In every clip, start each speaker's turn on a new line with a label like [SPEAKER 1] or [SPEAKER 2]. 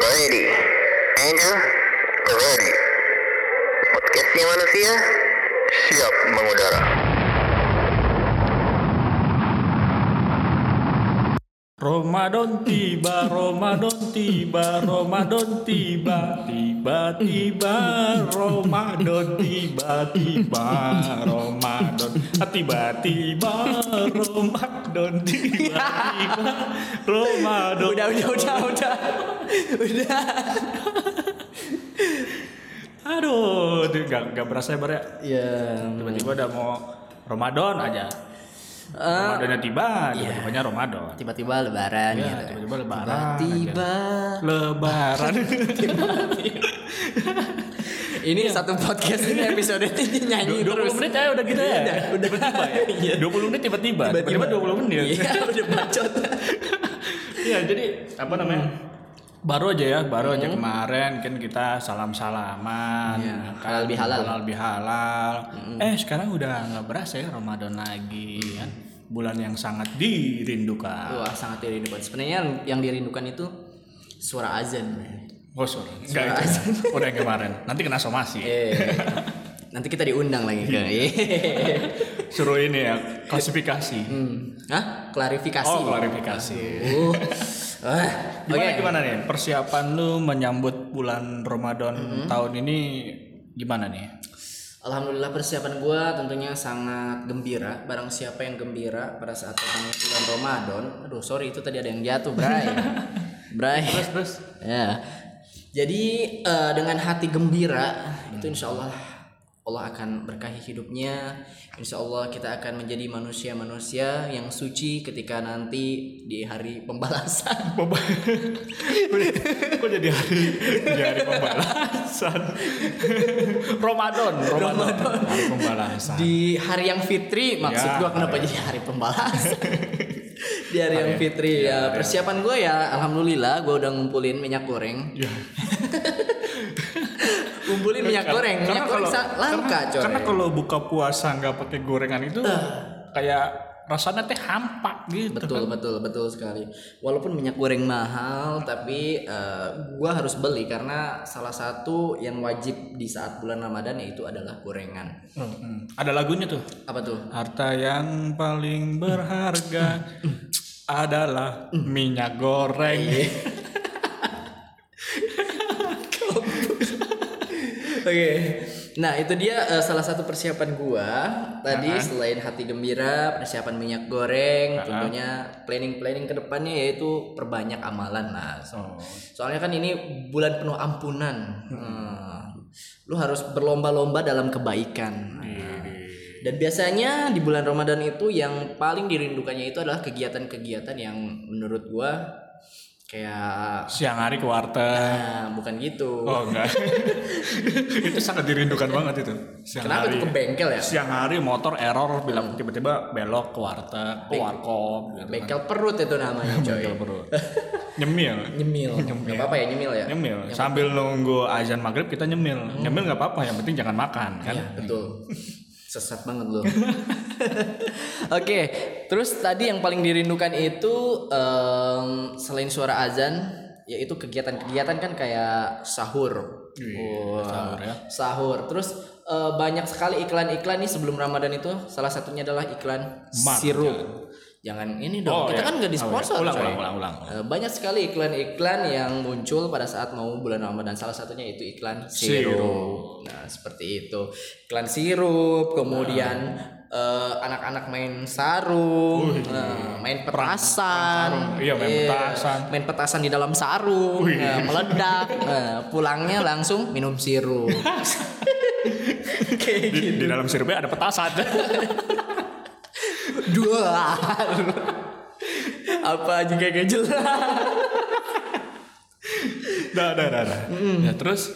[SPEAKER 1] Ready Angel Ready Podcastnya manusia Siap mengudara
[SPEAKER 2] Ramadan tiba, Ramadan tiba, Ramadan tiba, tiba-tiba Ramadan tiba-tiba Ramadan Ah, tiba-tiba Ramadan tiba-tiba Ramadan.
[SPEAKER 3] Udah, udah, udah, udah. udah.
[SPEAKER 2] Aduh, tuh gak, gak berasa ya, Bar, ya.
[SPEAKER 3] Ya.
[SPEAKER 2] Tiba-tiba udah mau Ramadan aja.
[SPEAKER 3] eh,
[SPEAKER 2] Ramadannya tiba, tiba-tibanya
[SPEAKER 3] Ah.
[SPEAKER 2] Ramadan.
[SPEAKER 3] tiba-tiba lebaran
[SPEAKER 2] Ya,
[SPEAKER 3] gitu.
[SPEAKER 2] tiba-tiba lebaran
[SPEAKER 3] Tiba-tiba.
[SPEAKER 2] Lebaran.
[SPEAKER 3] Ini satu podcast ini episode ini nyanyi
[SPEAKER 2] Du- 20
[SPEAKER 3] Iya, terus.
[SPEAKER 2] menit aja udah gitu ya.
[SPEAKER 3] Udah, udah.
[SPEAKER 2] Tiba-tiba ya.
[SPEAKER 3] Iya.
[SPEAKER 2] 20 menit tiba-tiba. Tiba-tiba 20 menit.
[SPEAKER 3] Iya, udah bacot.
[SPEAKER 2] Iya, jadi apa namanya?
[SPEAKER 3] Hmm.
[SPEAKER 2] Baru aja ya, baru aja kemarin kan kita salam-salaman.
[SPEAKER 3] Iya,
[SPEAKER 2] ya kan?
[SPEAKER 3] halal Hmm. bihalal.
[SPEAKER 2] Halal bihalal. Eh, sekarang udah nggak berasa ya Ramadan lagi ya. Bulan yang sangat dirindukan.
[SPEAKER 3] Iya. Wah, sangat dirindukan. Sebenarnya yang- yang dirindukan itu suara azan.
[SPEAKER 2] Oh, sorry. Nggak itu. Udah yang kemarin. Nanti kena somasi.
[SPEAKER 3] Eh. Nanti kita diundang lagi ke.
[SPEAKER 2] Iya. Suruh ini ya, klasifikasi.
[SPEAKER 3] Hmm. Hah? Klarifikasi.
[SPEAKER 2] Oh, klarifikasi.
[SPEAKER 3] Uh. Ah, Oke.
[SPEAKER 2] Gimana gimana nih persiapan lu menyambut bulan Ramadan
[SPEAKER 3] Mm-hmm.
[SPEAKER 2] tahun ini gimana nih?
[SPEAKER 3] Alhamdulillah persiapan gue tentunya sangat gembira Barang siapa yang gembira pada saat datangnya bulan Ramadan Aduh sorry itu tadi ada yang jatuh Bray Bray
[SPEAKER 2] Terus terus
[SPEAKER 3] Ya Jadi eh, dengan hati gembira Itu insya Allah Allah akan berkahi hidupnya Insya Allah kita akan menjadi manusia-manusia yang suci ketika nanti di hari pembalasan
[SPEAKER 2] kok jadi hari jadi hari pembalasan Ramadan Ramadan hari pembalasan
[SPEAKER 3] Di hari yang fitri maksud
[SPEAKER 2] Ya,
[SPEAKER 3] gua kenapa
[SPEAKER 2] hari-
[SPEAKER 3] jadi hari pembalasan Di hari yang fitri ya, persiapan gue ya Alhamdulillah gue udah ngumpulin minyak goreng
[SPEAKER 2] Ya.
[SPEAKER 3] Ngumpulin minyak goreng, minyak goreng sa- langka coy
[SPEAKER 2] karena kalau buka puasa nggak pakai gorengan itu kayak rasanya teh hampa gitu.
[SPEAKER 3] Betul, betul, betul sekali Walaupun minyak goreng mahal Tapi eh, gua harus beli Karena salah satu yang wajib di saat bulan Ramadan Yaitu adalah gorengan
[SPEAKER 2] Hmm. Ada lagunya tuh.
[SPEAKER 3] Apa tuh?
[SPEAKER 2] Harta yang paling berharga
[SPEAKER 3] Mm.
[SPEAKER 2] adalah minyak
[SPEAKER 3] Iya.
[SPEAKER 2] goreng.
[SPEAKER 3] Oke. Nah, itu dia eh, salah satu persiapan gua. Tadi selain hati gembira, persiapan minyak goreng, tentunya planning-planning ke depannya yaitu perbanyak amalan lah. So-
[SPEAKER 2] Oh.
[SPEAKER 3] Soalnya kan ini bulan penuh ampunan. Hmm. Lu harus berlomba-lomba dalam kebaikan. Dan biasanya di bulan Ramadan itu yang paling dirindukannya itu adalah kegiatan-kegiatan yang menurut gua kayak
[SPEAKER 2] Siang hari ke warteg.
[SPEAKER 3] ah, bukan gitu.
[SPEAKER 2] Oh enggak. itu sangat dirindukan banget itu. Siang
[SPEAKER 3] Kenapa
[SPEAKER 2] hari.
[SPEAKER 3] tuh ke bengkel ya?
[SPEAKER 2] Siang hari motor error bilang tiba-tiba belok ke warteg, ke warkop gitu.
[SPEAKER 3] Bengkel perut itu namanya coy.
[SPEAKER 2] Bengkel perut. Nyemil.
[SPEAKER 3] iya. Nyemil. Gak apa-apa ya nyemil ya?
[SPEAKER 2] Nyemil. Sambil nunggu azan maghrib kita nyemil. Nyemil nggak apa-apa, yang penting jangan makan kan.
[SPEAKER 3] Iya, betul. Sesat banget loh. Oke, terus tadi yang paling dirindukan itu em, selain suara azan yaitu kegiatan-kegiatan kan kayak sahur. Wah,
[SPEAKER 2] sahur ya.
[SPEAKER 3] Sahur. Terus eh, banyak sekali iklan-iklan nih sebelum Ramadan itu. Salah satunya adalah iklan
[SPEAKER 2] Mars,
[SPEAKER 3] sirup. Jangan ini
[SPEAKER 2] Oh,
[SPEAKER 3] dong. kita
[SPEAKER 2] iya.
[SPEAKER 3] kan nggak di
[SPEAKER 2] Oh, iya.
[SPEAKER 3] sponsor.
[SPEAKER 2] Ulang,
[SPEAKER 3] coy.
[SPEAKER 2] ulang, ulang, ulang.
[SPEAKER 3] Eh, banyak sekali iklan-iklan yang muncul pada saat mau bulan Ramadan. Salah satunya itu iklan
[SPEAKER 2] Sirup.
[SPEAKER 3] sirup. Nah, seperti itu. Iklan sirup, kemudian
[SPEAKER 2] Nah.
[SPEAKER 3] eh, anak-anak main sarung, eh, main petasan.
[SPEAKER 2] sarung. Iya, main petasan.
[SPEAKER 3] Main petasan di dalam sarung, eh, meledak. Eh, pulangnya langsung minum sirup. Kayak
[SPEAKER 2] Di,
[SPEAKER 3] gitu.
[SPEAKER 2] di dalam sirupnya ada petasan.
[SPEAKER 3] dua apa juga gak jelas
[SPEAKER 2] Dah, dah, dah, dah. Ya, terus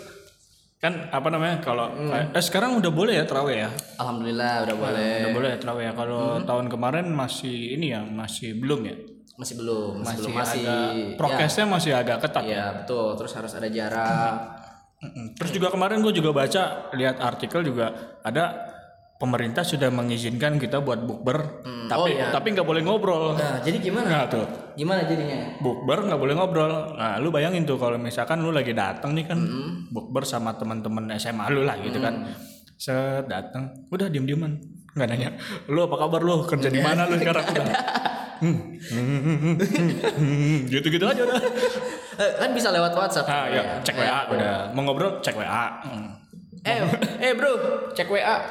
[SPEAKER 2] kan apa namanya kalau
[SPEAKER 3] Mm.
[SPEAKER 2] eh sekarang udah boleh ya terawih ya?
[SPEAKER 3] alhamdulillah udah boleh
[SPEAKER 2] Udah boleh ya terawih ya. Kalau
[SPEAKER 3] Hmm?
[SPEAKER 2] tahun kemarin masih ini ya, masih belum ya.
[SPEAKER 3] masih belum masih,
[SPEAKER 2] Masih,
[SPEAKER 3] belum masih
[SPEAKER 2] agak
[SPEAKER 3] Iya.
[SPEAKER 2] prokesnya masih agak ketat.
[SPEAKER 3] ya, ya betul terus harus ada jarak
[SPEAKER 2] Mm-mm. Terus juga kemarin gue juga baca lihat artikel juga ada pemerintah sudah mengizinkan kita buat bukber, tapi
[SPEAKER 3] oh, iya.
[SPEAKER 2] tapi nggak boleh ngobrol.
[SPEAKER 3] Nah, jadi gimana?
[SPEAKER 2] Nah tuh,
[SPEAKER 3] Gimana jadinya?
[SPEAKER 2] bukber nggak boleh ngobrol. Nah, lu bayangin tuh kalau misalkan lu lagi datang nih kan,
[SPEAKER 3] Hmm.
[SPEAKER 2] bukber sama teman-teman SMA lu lah gitu kan. Set datang, udah diem-dieman, nggak nanya. Lu apa kabar lu? Kerja di mana lu sekarang? Udah. Hmm, hmm, hmm, hmm, hmm, gitu-gitu aja udah.
[SPEAKER 3] Eh, kan bisa lewat WhatsApp.
[SPEAKER 2] Ah, ya, cek WA udah. Mau ngobrol cek WA. Hmm.
[SPEAKER 3] Eh, eh bro, cek WA.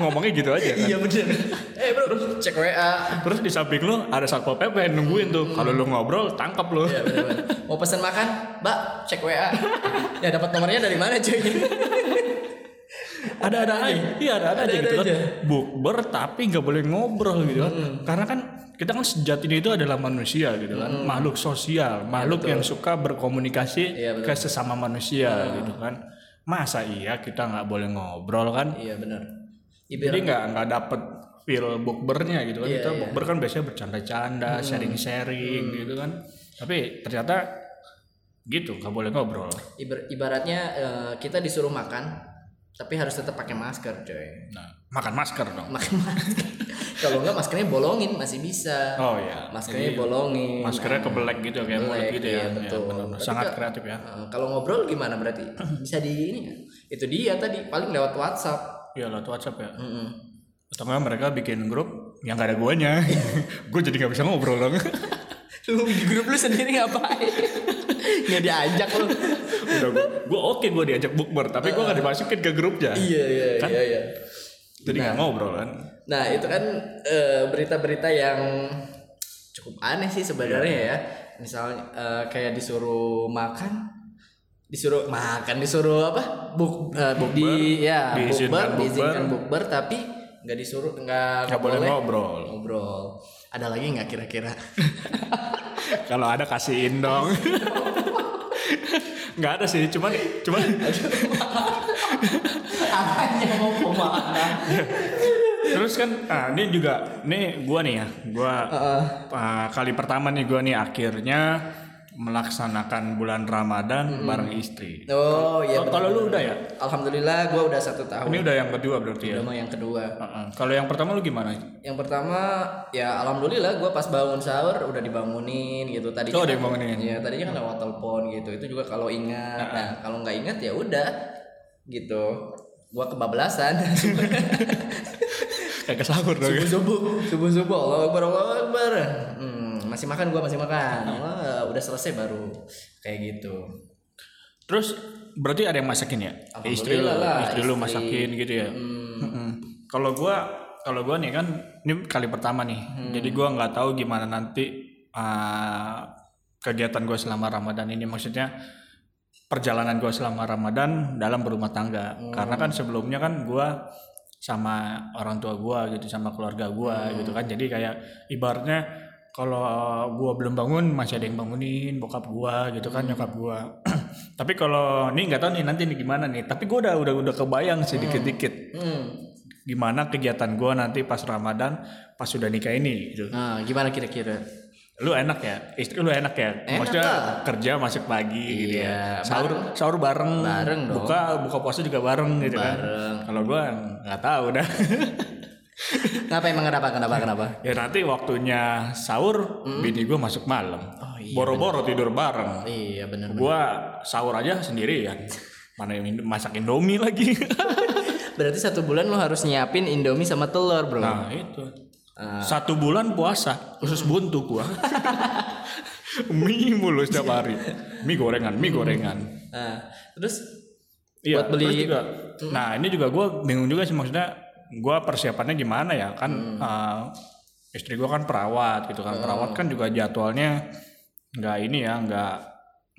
[SPEAKER 2] Ngomongnya gitu aja kan.
[SPEAKER 3] Iya bener. Eh bro, cek WA.
[SPEAKER 2] Terus di samping lu ada satpol PP nungguin tuh. Kalau lu ngobrol tangkap lu.
[SPEAKER 3] Iya, bener-bener. Mau pesan makan? Mbak, cek WA. ya dapat nomornya dari mana cuy?
[SPEAKER 2] Ada-ada aja. Iya, ada-ada aja
[SPEAKER 3] Ada-ada
[SPEAKER 2] gitu kan.
[SPEAKER 3] aja. Hmm.
[SPEAKER 2] Bukber tapi nggak boleh ngobrol gitu kan. Karena kan kita kan sejatinya itu adalah manusia gitu kan.
[SPEAKER 3] Hmm.
[SPEAKER 2] Makhluk sosial, makhluk yang suka berkomunikasi
[SPEAKER 3] Iya, betul. Ah.
[SPEAKER 2] ke sesama manusia gitu kan. Masa iya kita nggak boleh ngobrol kan?
[SPEAKER 3] iya bener.
[SPEAKER 2] Jadi
[SPEAKER 3] Ibarat
[SPEAKER 2] nggak nggak dapet feel bukbernya gitu kan.
[SPEAKER 3] Iya,
[SPEAKER 2] Kita
[SPEAKER 3] iya. Hmm.
[SPEAKER 2] bukber kan biasanya bercanda-canda, sharing-sharing gitu kan. Tapi ternyata gitu nggak boleh ngobrol.
[SPEAKER 3] ibar- ibaratnya eh, kita disuruh makan, tapi harus tetap pakai masker cuy.
[SPEAKER 2] Nah, makan masker dong.
[SPEAKER 3] Makan masker. Kalau enggak maskernya bolongin masih bisa.
[SPEAKER 2] Oh iya.
[SPEAKER 3] Maskernya bolongin.
[SPEAKER 2] Maskernya kebelek gitu kayak
[SPEAKER 3] Nah, Black,
[SPEAKER 2] mulut gitu ya.
[SPEAKER 3] iya,
[SPEAKER 2] Iya,
[SPEAKER 3] betul.
[SPEAKER 2] benar-benar.
[SPEAKER 3] Tapi
[SPEAKER 2] Sangat
[SPEAKER 3] kalau-
[SPEAKER 2] kreatif ya.
[SPEAKER 3] Eh, kalau ngobrol gimana berarti? Bisa di ini nggak? Itu dia tadi paling lewat WhatsApp.
[SPEAKER 2] Iya lewat WhatsApp ya.
[SPEAKER 3] Mm-mm.
[SPEAKER 2] Atau nggak mereka bikin grup yang gak ada guanya. gue jadi nggak bisa ngobrol dong.
[SPEAKER 3] Lu di grup lu sendiri ngapain? Nggak diajak lu.
[SPEAKER 2] Udah gue, gue oke gue diajak bukber, tapi gue gak dimasukin ke grupnya.
[SPEAKER 3] iya iya
[SPEAKER 2] Kan
[SPEAKER 3] iya iya.
[SPEAKER 2] Jadi nggak ngobrol kan.
[SPEAKER 3] Nah, itu kan eh, berita-berita yang cukup aneh sih sebenarnya
[SPEAKER 2] Iya.
[SPEAKER 3] ya. Misalnya eh, kayak disuruh makan disuruh makan disuruh apa buk eh, di ya
[SPEAKER 2] Diizinkan
[SPEAKER 3] bukber
[SPEAKER 2] bukber.
[SPEAKER 3] diizinkan bukber tapi nggak disuruh nggak
[SPEAKER 2] Nggak boleh ngobrol.
[SPEAKER 3] ngobrol ada lagi nggak kira-kira
[SPEAKER 2] Kalau ada kasihin dong. Nggak ada sih, cuman cuman
[SPEAKER 3] Apanya mau kemana?
[SPEAKER 2] terus kan ah ini juga ini gua nih ya, gua ah, kali pertama nih gua nih akhirnya melaksanakan bulan Ramadan
[SPEAKER 3] Hmm.
[SPEAKER 2] bareng istri.
[SPEAKER 3] Oh iya.
[SPEAKER 2] Kalau- kalau lu udah ya?
[SPEAKER 3] Alhamdulillah gue udah satu tahun.
[SPEAKER 2] Ini udah yang kedua berarti ya.
[SPEAKER 3] Udah mau yang kedua.
[SPEAKER 2] Ah, ah. Kalau yang pertama lu gimana?
[SPEAKER 3] Yang pertama ya alhamdulillah gue pas bangun sahur udah dibangunin gitu tadi.
[SPEAKER 2] Oh, ada yang bangunin.
[SPEAKER 3] Iya tadinya kan lewat telepon gitu. Itu juga kalau ingat. Nah kalau nggak ingat ya udah gitu. Gue kebablasan.
[SPEAKER 2] Kayak sahur dong.
[SPEAKER 3] subuh subuh subuh subuh Allah Akbar Allah Akbar. Hmm, masih makan gue masih makan. Wah, udah selesai baru kayak gitu.
[SPEAKER 2] Terus berarti ada yang masakin ya? Istri lu,
[SPEAKER 3] Alhamdulillah lah,
[SPEAKER 2] istri lu
[SPEAKER 3] istri.
[SPEAKER 2] masakin gitu ya. Mm-mm. Kalau gua kalau gua nih kan ini kali pertama nih. Jadi gua nggak tahu gimana nanti uh, kegiatan gua selama Ramadan ini maksudnya perjalanan gua selama Ramadan dalam berumah tangga. Karena kan sebelumnya kan gua sama orang tua gua gitu sama keluarga gua gitu kan. Jadi kayak ibaratnya kalau gua belum bangun masih ada yang bangunin bokap gua gitu kan nyokap gua. tapi kalau nih nggak tahu nih nanti nih gimana nih. Tapi gua udah udah udah kebayang sedikit-dikit
[SPEAKER 3] Hmm.
[SPEAKER 2] gimana kegiatan gua nanti pas Ramadan pas sudah nikah ini gitu.
[SPEAKER 3] Nah, gimana kira-kira?
[SPEAKER 2] Lu enak ya? Istri lu enak ya? Maksudnya
[SPEAKER 3] lah.
[SPEAKER 2] kerja masuk pagi gitu ya.
[SPEAKER 3] Iya,
[SPEAKER 2] Sahur sahur bareng.
[SPEAKER 3] Bareng dong.
[SPEAKER 2] Buka buka puasa juga bareng gitu
[SPEAKER 3] Bareng.
[SPEAKER 2] kan. Kalau gua nggak
[SPEAKER 3] Ah,
[SPEAKER 2] tahu dah.
[SPEAKER 3] Kenapa emang kenapa kenapa kenapa?
[SPEAKER 2] ya nanti waktunya sahur
[SPEAKER 3] Hmm.
[SPEAKER 2] bini gua masuk malam. Boro-boro tidur bareng.
[SPEAKER 3] Oh, Iya bener
[SPEAKER 2] Gua sahur aja sendiri ya. Mana yang Indo- masak Indomie lagi.
[SPEAKER 3] Berarti satu bulan lo harus nyiapin indomie sama telur bro
[SPEAKER 2] nah, itu.
[SPEAKER 3] Ah.
[SPEAKER 2] Satu bulan puasa, khusus buntu gua. mie mulu setiap hari. Mie gorengan, mie gorengan.
[SPEAKER 3] Nah, Terus
[SPEAKER 2] Iya,
[SPEAKER 3] buat
[SPEAKER 2] terus
[SPEAKER 3] beli-
[SPEAKER 2] juga. Nah, ini juga gue bingung juga sih maksudnya gue persiapannya gimana ya kan eh, istri gue kan perawat gitu kan perawat kan juga jadwalnya nggak ini ya nggak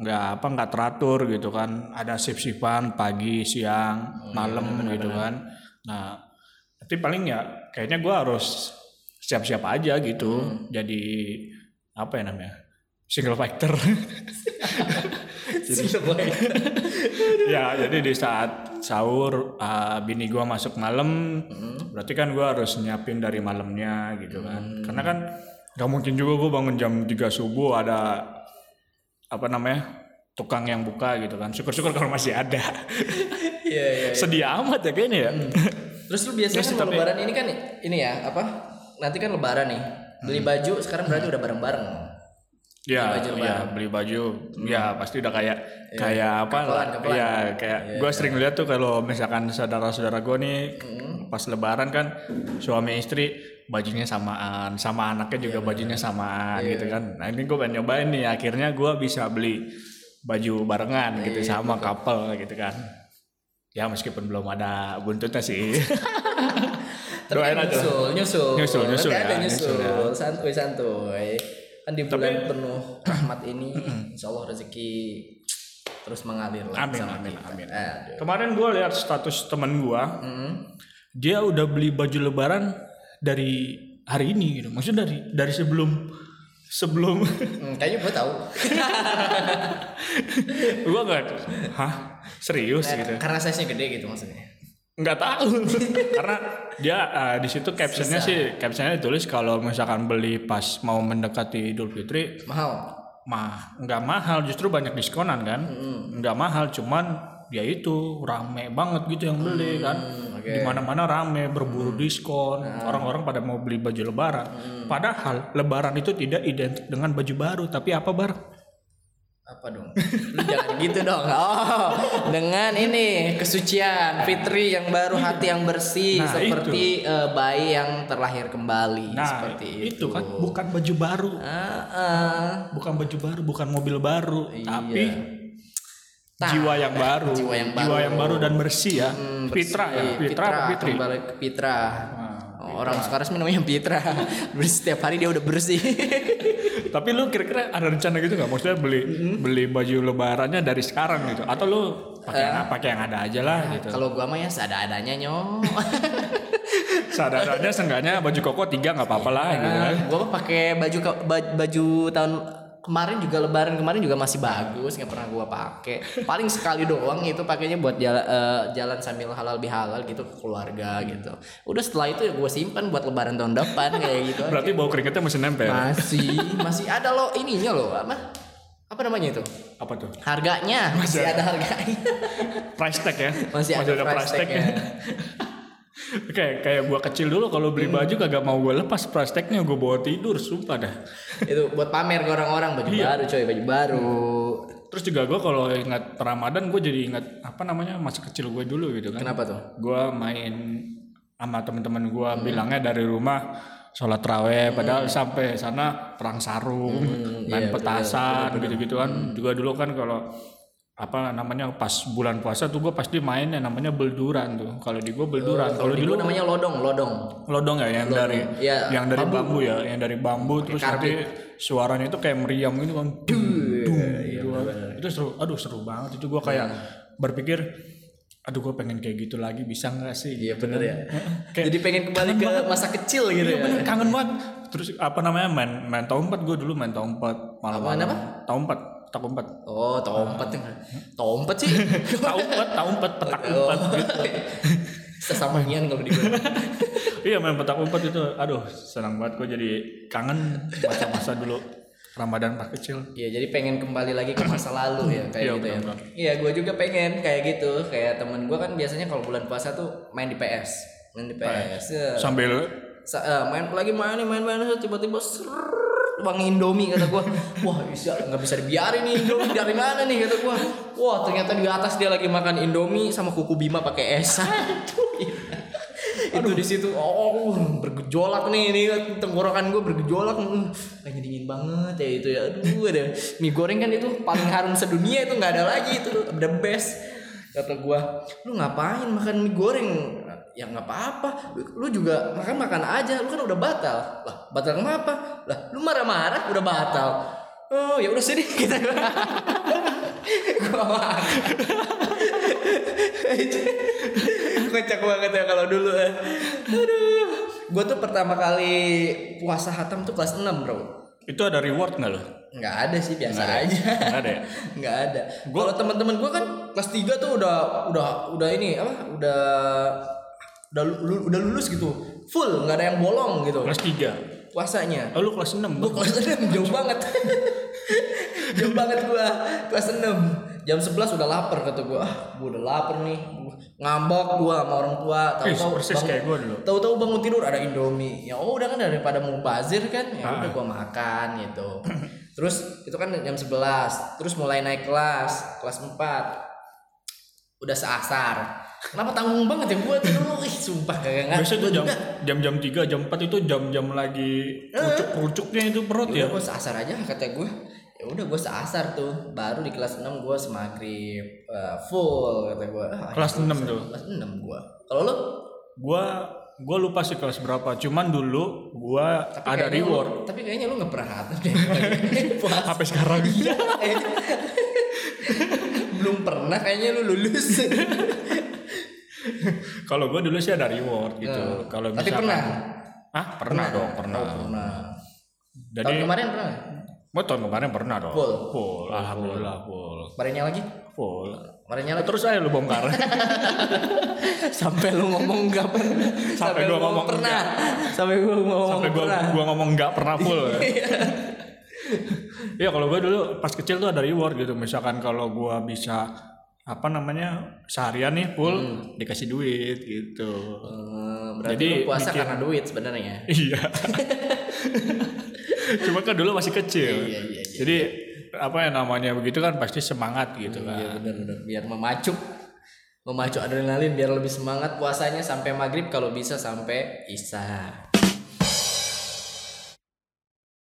[SPEAKER 2] nggak apa nggak teratur gitu kan ada shift shiftan pagi siang malam gitu kan nah nanti paling ya kayaknya gue harus siap siap aja gitu jadi apa ya namanya single factor ya jadi di saat sahur uh, bini gua masuk malam
[SPEAKER 3] Hmm.
[SPEAKER 2] berarti kan gua harus nyiapin dari malamnya gitu kan karena kan nggak mungkin juga gua bangun jam 3 subuh ada apa namanya tukang yang buka gitu kan syukur-syukur kalau masih ada
[SPEAKER 3] Iya Hmm. iya
[SPEAKER 2] sedih amat ya kayaknya ya
[SPEAKER 3] Terus lu biasanya
[SPEAKER 2] Yes,
[SPEAKER 3] kan kalau
[SPEAKER 2] tapi-
[SPEAKER 3] lebaran ini kan ini ya apa? Nanti kan lebaran nih. Beli
[SPEAKER 2] Hmm.
[SPEAKER 3] baju sekarang berarti udah bareng-bareng.
[SPEAKER 2] Ya,
[SPEAKER 3] baju
[SPEAKER 2] ya beli baju, ya pasti udah kayak kayak apa?
[SPEAKER 3] Kapelan, kapelan.
[SPEAKER 2] Ya kayak gue sering lihat tuh kalau misalkan saudara-saudara gue nih pas Lebaran kan suami istri bajunya samaan, sama anaknya juga bajunya samaan gitu kan. Nah ini gue pengen nyobain nih, akhirnya gue bisa beli baju barengan gitu sama couple gitu kan. Ya meskipun belum ada buntutnya sih.
[SPEAKER 3] Tapi
[SPEAKER 2] Doain
[SPEAKER 3] kan
[SPEAKER 2] aja.
[SPEAKER 3] nyusul, nyusul.
[SPEAKER 2] Nyusul, nyusul
[SPEAKER 3] Nanti ada
[SPEAKER 2] ya,
[SPEAKER 3] nyusul.
[SPEAKER 2] nyusul ya.
[SPEAKER 3] Santuy, santuy. Kan di bulan penuh rahmat ini insya Allah rezeki terus mengalir lah
[SPEAKER 2] Hmm. Amin,
[SPEAKER 3] sama
[SPEAKER 2] amin,
[SPEAKER 3] kita.
[SPEAKER 2] amin.
[SPEAKER 3] Aduh.
[SPEAKER 2] Kemarin gue lihat status temen gue, dia udah beli baju Lebaran dari hari ini gitu. Maksudnya dari dari sebelum sebelum
[SPEAKER 3] Hmm, kayaknya gue tahu.
[SPEAKER 2] gue nggak, hah serius gitu.
[SPEAKER 3] Karena size-nya gede gitu maksudnya.
[SPEAKER 2] Nggak tahu karena dia eh, di situ captionnya sih captionnya ditulis kalau misalkan beli pas mau mendekati Idul Fitri
[SPEAKER 3] Mahal.
[SPEAKER 2] mah nggak mahal justru banyak diskonan kan nggak mahal cuman ya itu rame banget gitu yang beli kan di mana mana rame berburu diskon
[SPEAKER 3] Nah.
[SPEAKER 2] orang-orang pada mau beli baju lebaran padahal lebaran itu tidak identik dengan baju baru tapi apa bar
[SPEAKER 3] apa dong? Lu jangan gitu dong. Oh, dengan ini kesucian Fitri yang baru hati yang bersih
[SPEAKER 2] Nah,
[SPEAKER 3] seperti eh, bayi yang terlahir kembali
[SPEAKER 2] nah
[SPEAKER 3] seperti
[SPEAKER 2] itu
[SPEAKER 3] itu.
[SPEAKER 2] kan bukan baju baru
[SPEAKER 3] Ah, ah.
[SPEAKER 2] bukan baju baru bukan mobil baru tapi
[SPEAKER 3] Nah,
[SPEAKER 2] jiwa yang baru
[SPEAKER 3] Iya. jiwa yang baru.
[SPEAKER 2] dan bersih ya
[SPEAKER 3] Hmm,
[SPEAKER 2] Fitra ya
[SPEAKER 3] bersih.
[SPEAKER 2] Fitra apa Ah, Fitri
[SPEAKER 3] kembali ke Fitra. Oh, Orang sekarang sih namanya Fitra. bersih setiap hari dia udah bersih.
[SPEAKER 2] Tapi lu kira-kira ada rencana gitu nggak? Maksudnya beli
[SPEAKER 3] Mm-hmm.
[SPEAKER 2] beli baju lebarannya dari sekarang gitu? Atau lu pakai yang pakai yang ada aja lah gitu?
[SPEAKER 3] Eh, Kalau gua mah ya seada-adanya nyok.
[SPEAKER 2] Sadarnya seenggaknya baju koko tiga nggak apa-apa lah gitu kan?
[SPEAKER 3] Ah, gua mah pakai baju ke- ba- baju tahun kemarin juga lebaran kemarin juga masih bagus nggak pernah gua pakai paling sekali doang itu pakainya buat jala- eh, jalan sambil halal bihalal gitu ke keluarga gitu udah setelah itu ya gue simpan buat lebaran tahun depan kayak gitu aja.
[SPEAKER 2] Berarti bau keringetnya masih
[SPEAKER 3] ya.
[SPEAKER 2] nempel.
[SPEAKER 3] masih masih ada loh ininya loh apa apa namanya itu
[SPEAKER 2] Apa tuh?
[SPEAKER 3] harganya masih, ada harganya
[SPEAKER 2] Price tag ya?
[SPEAKER 3] masih, ada, price tag-nya.
[SPEAKER 2] Kayak kayak gua kecil dulu kalau beli
[SPEAKER 3] Mm-hmm.
[SPEAKER 2] baju kagak mau gua lepas price tagnya gua bawa tidur sumpah dah.
[SPEAKER 3] itu buat pamer ke orang-orang baju baru coy baju baru
[SPEAKER 2] Terus juga gua kalau ingat Ramadan gua jadi ingat apa namanya masa kecil gue dulu gitu kan.
[SPEAKER 3] kenapa tuh
[SPEAKER 2] gue main sama temen-temen gue bilangnya dari rumah sholat raweh padahal sampai sana perang sarung main petasan gitu-gitu kan juga dulu kan kalau apa namanya pas bulan puasa tuh gue pasti main yang namanya belduran tuh kalau di gue belduran kalau
[SPEAKER 3] Di
[SPEAKER 2] di
[SPEAKER 3] gua namanya lodong lodong
[SPEAKER 2] lodong ya yang dari
[SPEAKER 3] Iya,
[SPEAKER 2] yang dari bambu. ya yang dari bambu terus nanti suaranya itu kayak meriam gitu kan
[SPEAKER 3] Iya,
[SPEAKER 2] dung, dung, gitu kan. itu seru aduh seru banget itu gua kayak
[SPEAKER 3] Iya.
[SPEAKER 2] berpikir aduh gua pengen kayak gitu lagi bisa nggak sih
[SPEAKER 3] Iya bener ya.
[SPEAKER 2] Kayak- Iya,
[SPEAKER 3] Jadi pengen kembali ke masa kecil gitu ya.
[SPEAKER 2] Bener, kangen banget terus apa namanya main main tompet gue dulu main tompet malam malam
[SPEAKER 3] apa?
[SPEAKER 2] tompet tak umpet
[SPEAKER 3] Oh, tompet. Tompet sih. iya.
[SPEAKER 2] taumpet taumpet petak
[SPEAKER 3] Oh.
[SPEAKER 2] umpet
[SPEAKER 3] Sesamanian kalau di gua.
[SPEAKER 2] iya main petak umpet itu aduh senang banget gue jadi kangen masa-masa dulu Ramadan pas kecil
[SPEAKER 3] Iya, jadi pengen kembali lagi ke masa lalu ya kayak
[SPEAKER 2] Iya,
[SPEAKER 3] gitu ya. Iya, gua juga pengen kayak gitu. Kayak temen gua kan biasanya kalau bulan puasa tuh main di PS. Main di PS. ya.
[SPEAKER 2] sambil
[SPEAKER 3] Sa- eh, main lagi main nih, main main terus tiba-tiba serrrr, bang Indomie kata gua wah bisa nggak bisa dibiarin nih Indomie dari mana nih kata gua wah ternyata di atas dia lagi makan Indomie sama kuku Bima pakai es Aduh, iya. itu di situ oh bergejolak nih ini kan, tenggorokan gua bergejolak Hmm, kayaknya dingin banget ya itu ya aduh ada mie goreng kan itu paling harum sedunia itu nggak ada lagi itu the best kata gua lu ngapain makan mie goreng ya nggak apa-apa lu juga makan makan aja lu kan udah batal lah batal kenapa lah lu marah-marah udah batal oh ya udah sini kita gua makan. kocak banget ya kalau dulu eh. aduh gua tuh pertama kali puasa hatam tuh kelas 6 bro
[SPEAKER 2] Itu ada reward nggak lo?
[SPEAKER 3] nggak ada sih biasa aja
[SPEAKER 2] Nggak ada ya?
[SPEAKER 3] nggak ada kalau teman-teman gue kan kelas 3 tuh udah udah udah ini apa udah udah lu- udah lulus gitu full nggak ada yang bolong gitu
[SPEAKER 2] Kelas 3
[SPEAKER 3] puasanya
[SPEAKER 2] Oh lu kelas 6
[SPEAKER 3] gue kelas 6 jauh banget jauh banget gue kelas 6 jam 11 udah lapar kata gue ah gue udah lapar nih Gua ngambek gua sama orang tua
[SPEAKER 2] Ih,
[SPEAKER 3] tahu-tahu
[SPEAKER 2] persis
[SPEAKER 3] bangun-
[SPEAKER 2] kayak gua dulu.
[SPEAKER 3] tahu-tahu bangun tidur ada indomie ya udah kan daripada mau bazir kan ya udah
[SPEAKER 2] Ah.
[SPEAKER 3] gua makan gitu terus itu kan jam 11 terus mulai naik kelas kelas 4 udah seasar kenapa tanggung banget ya gua tuh dulu ih sumpah kagak ngerti
[SPEAKER 2] Biasanya tuh
[SPEAKER 3] Gua
[SPEAKER 2] jam
[SPEAKER 3] juga- Eh.
[SPEAKER 2] jam jam tiga jam empat itu jam jam lagi kerucuk kerucuknya itu perut
[SPEAKER 3] ya
[SPEAKER 2] ya.
[SPEAKER 3] gue seasar aja kata gue ya udah gue seasar tuh baru di kelas 6 gue semagrib eh, full kata gue
[SPEAKER 2] Kelas enam tuh.
[SPEAKER 3] kelas 6 gue kalau lo
[SPEAKER 2] Gua gua lupa sih kelas berapa. Cuman dulu gua ada
[SPEAKER 3] kayaknya
[SPEAKER 2] reward.
[SPEAKER 3] lu- tapi kayaknya lu nggak pernah hatam deh Puas.
[SPEAKER 2] Sampai sekarang.
[SPEAKER 3] Iya, kayaknya. belum pernah kayaknya lu lulus
[SPEAKER 2] Kalau gua dulu sih ada reward gitu. Kalau
[SPEAKER 3] Eh, tapi
[SPEAKER 2] misalkan-
[SPEAKER 3] pernah
[SPEAKER 2] Ah, pernah, dong, pernah.
[SPEAKER 3] Oh, pernah
[SPEAKER 2] Jadi
[SPEAKER 3] tahun kemarin pernah nggak?
[SPEAKER 2] gua tahun kemarin pernah dong.
[SPEAKER 3] Full.
[SPEAKER 2] Full, alhamdulillah full.
[SPEAKER 3] kemarinnya lagi
[SPEAKER 2] Full.
[SPEAKER 3] kemarinnya lagi
[SPEAKER 2] Terus aja lu bongkar.
[SPEAKER 3] sampai lu ngomong nggak pernah sampai,
[SPEAKER 2] gua
[SPEAKER 3] lu
[SPEAKER 2] ngomong
[SPEAKER 3] pernah sampai gue ngomong
[SPEAKER 2] sampai gua
[SPEAKER 3] Oh, pernah
[SPEAKER 2] gua ngomong nggak pernah full Iya kalau gua dulu pas kecil tuh ada reward gitu misalkan kalau gua bisa apa namanya seharian nih full
[SPEAKER 3] Hmm.
[SPEAKER 2] dikasih duit gitu
[SPEAKER 3] Eh, berarti
[SPEAKER 2] Jadi,
[SPEAKER 3] lu puasa
[SPEAKER 2] bikin-
[SPEAKER 3] karena duit sebenarnya.
[SPEAKER 2] iya cuma kan dulu masih kecil
[SPEAKER 3] Iya, iya, iya.
[SPEAKER 2] jadi apa yang namanya begitu kan pasti semangat gitu
[SPEAKER 3] Iya
[SPEAKER 2] kan
[SPEAKER 3] benar-benar biar memacu memacu adrenalin biar lebih semangat puasanya sampai maghrib kalau bisa sampai isya.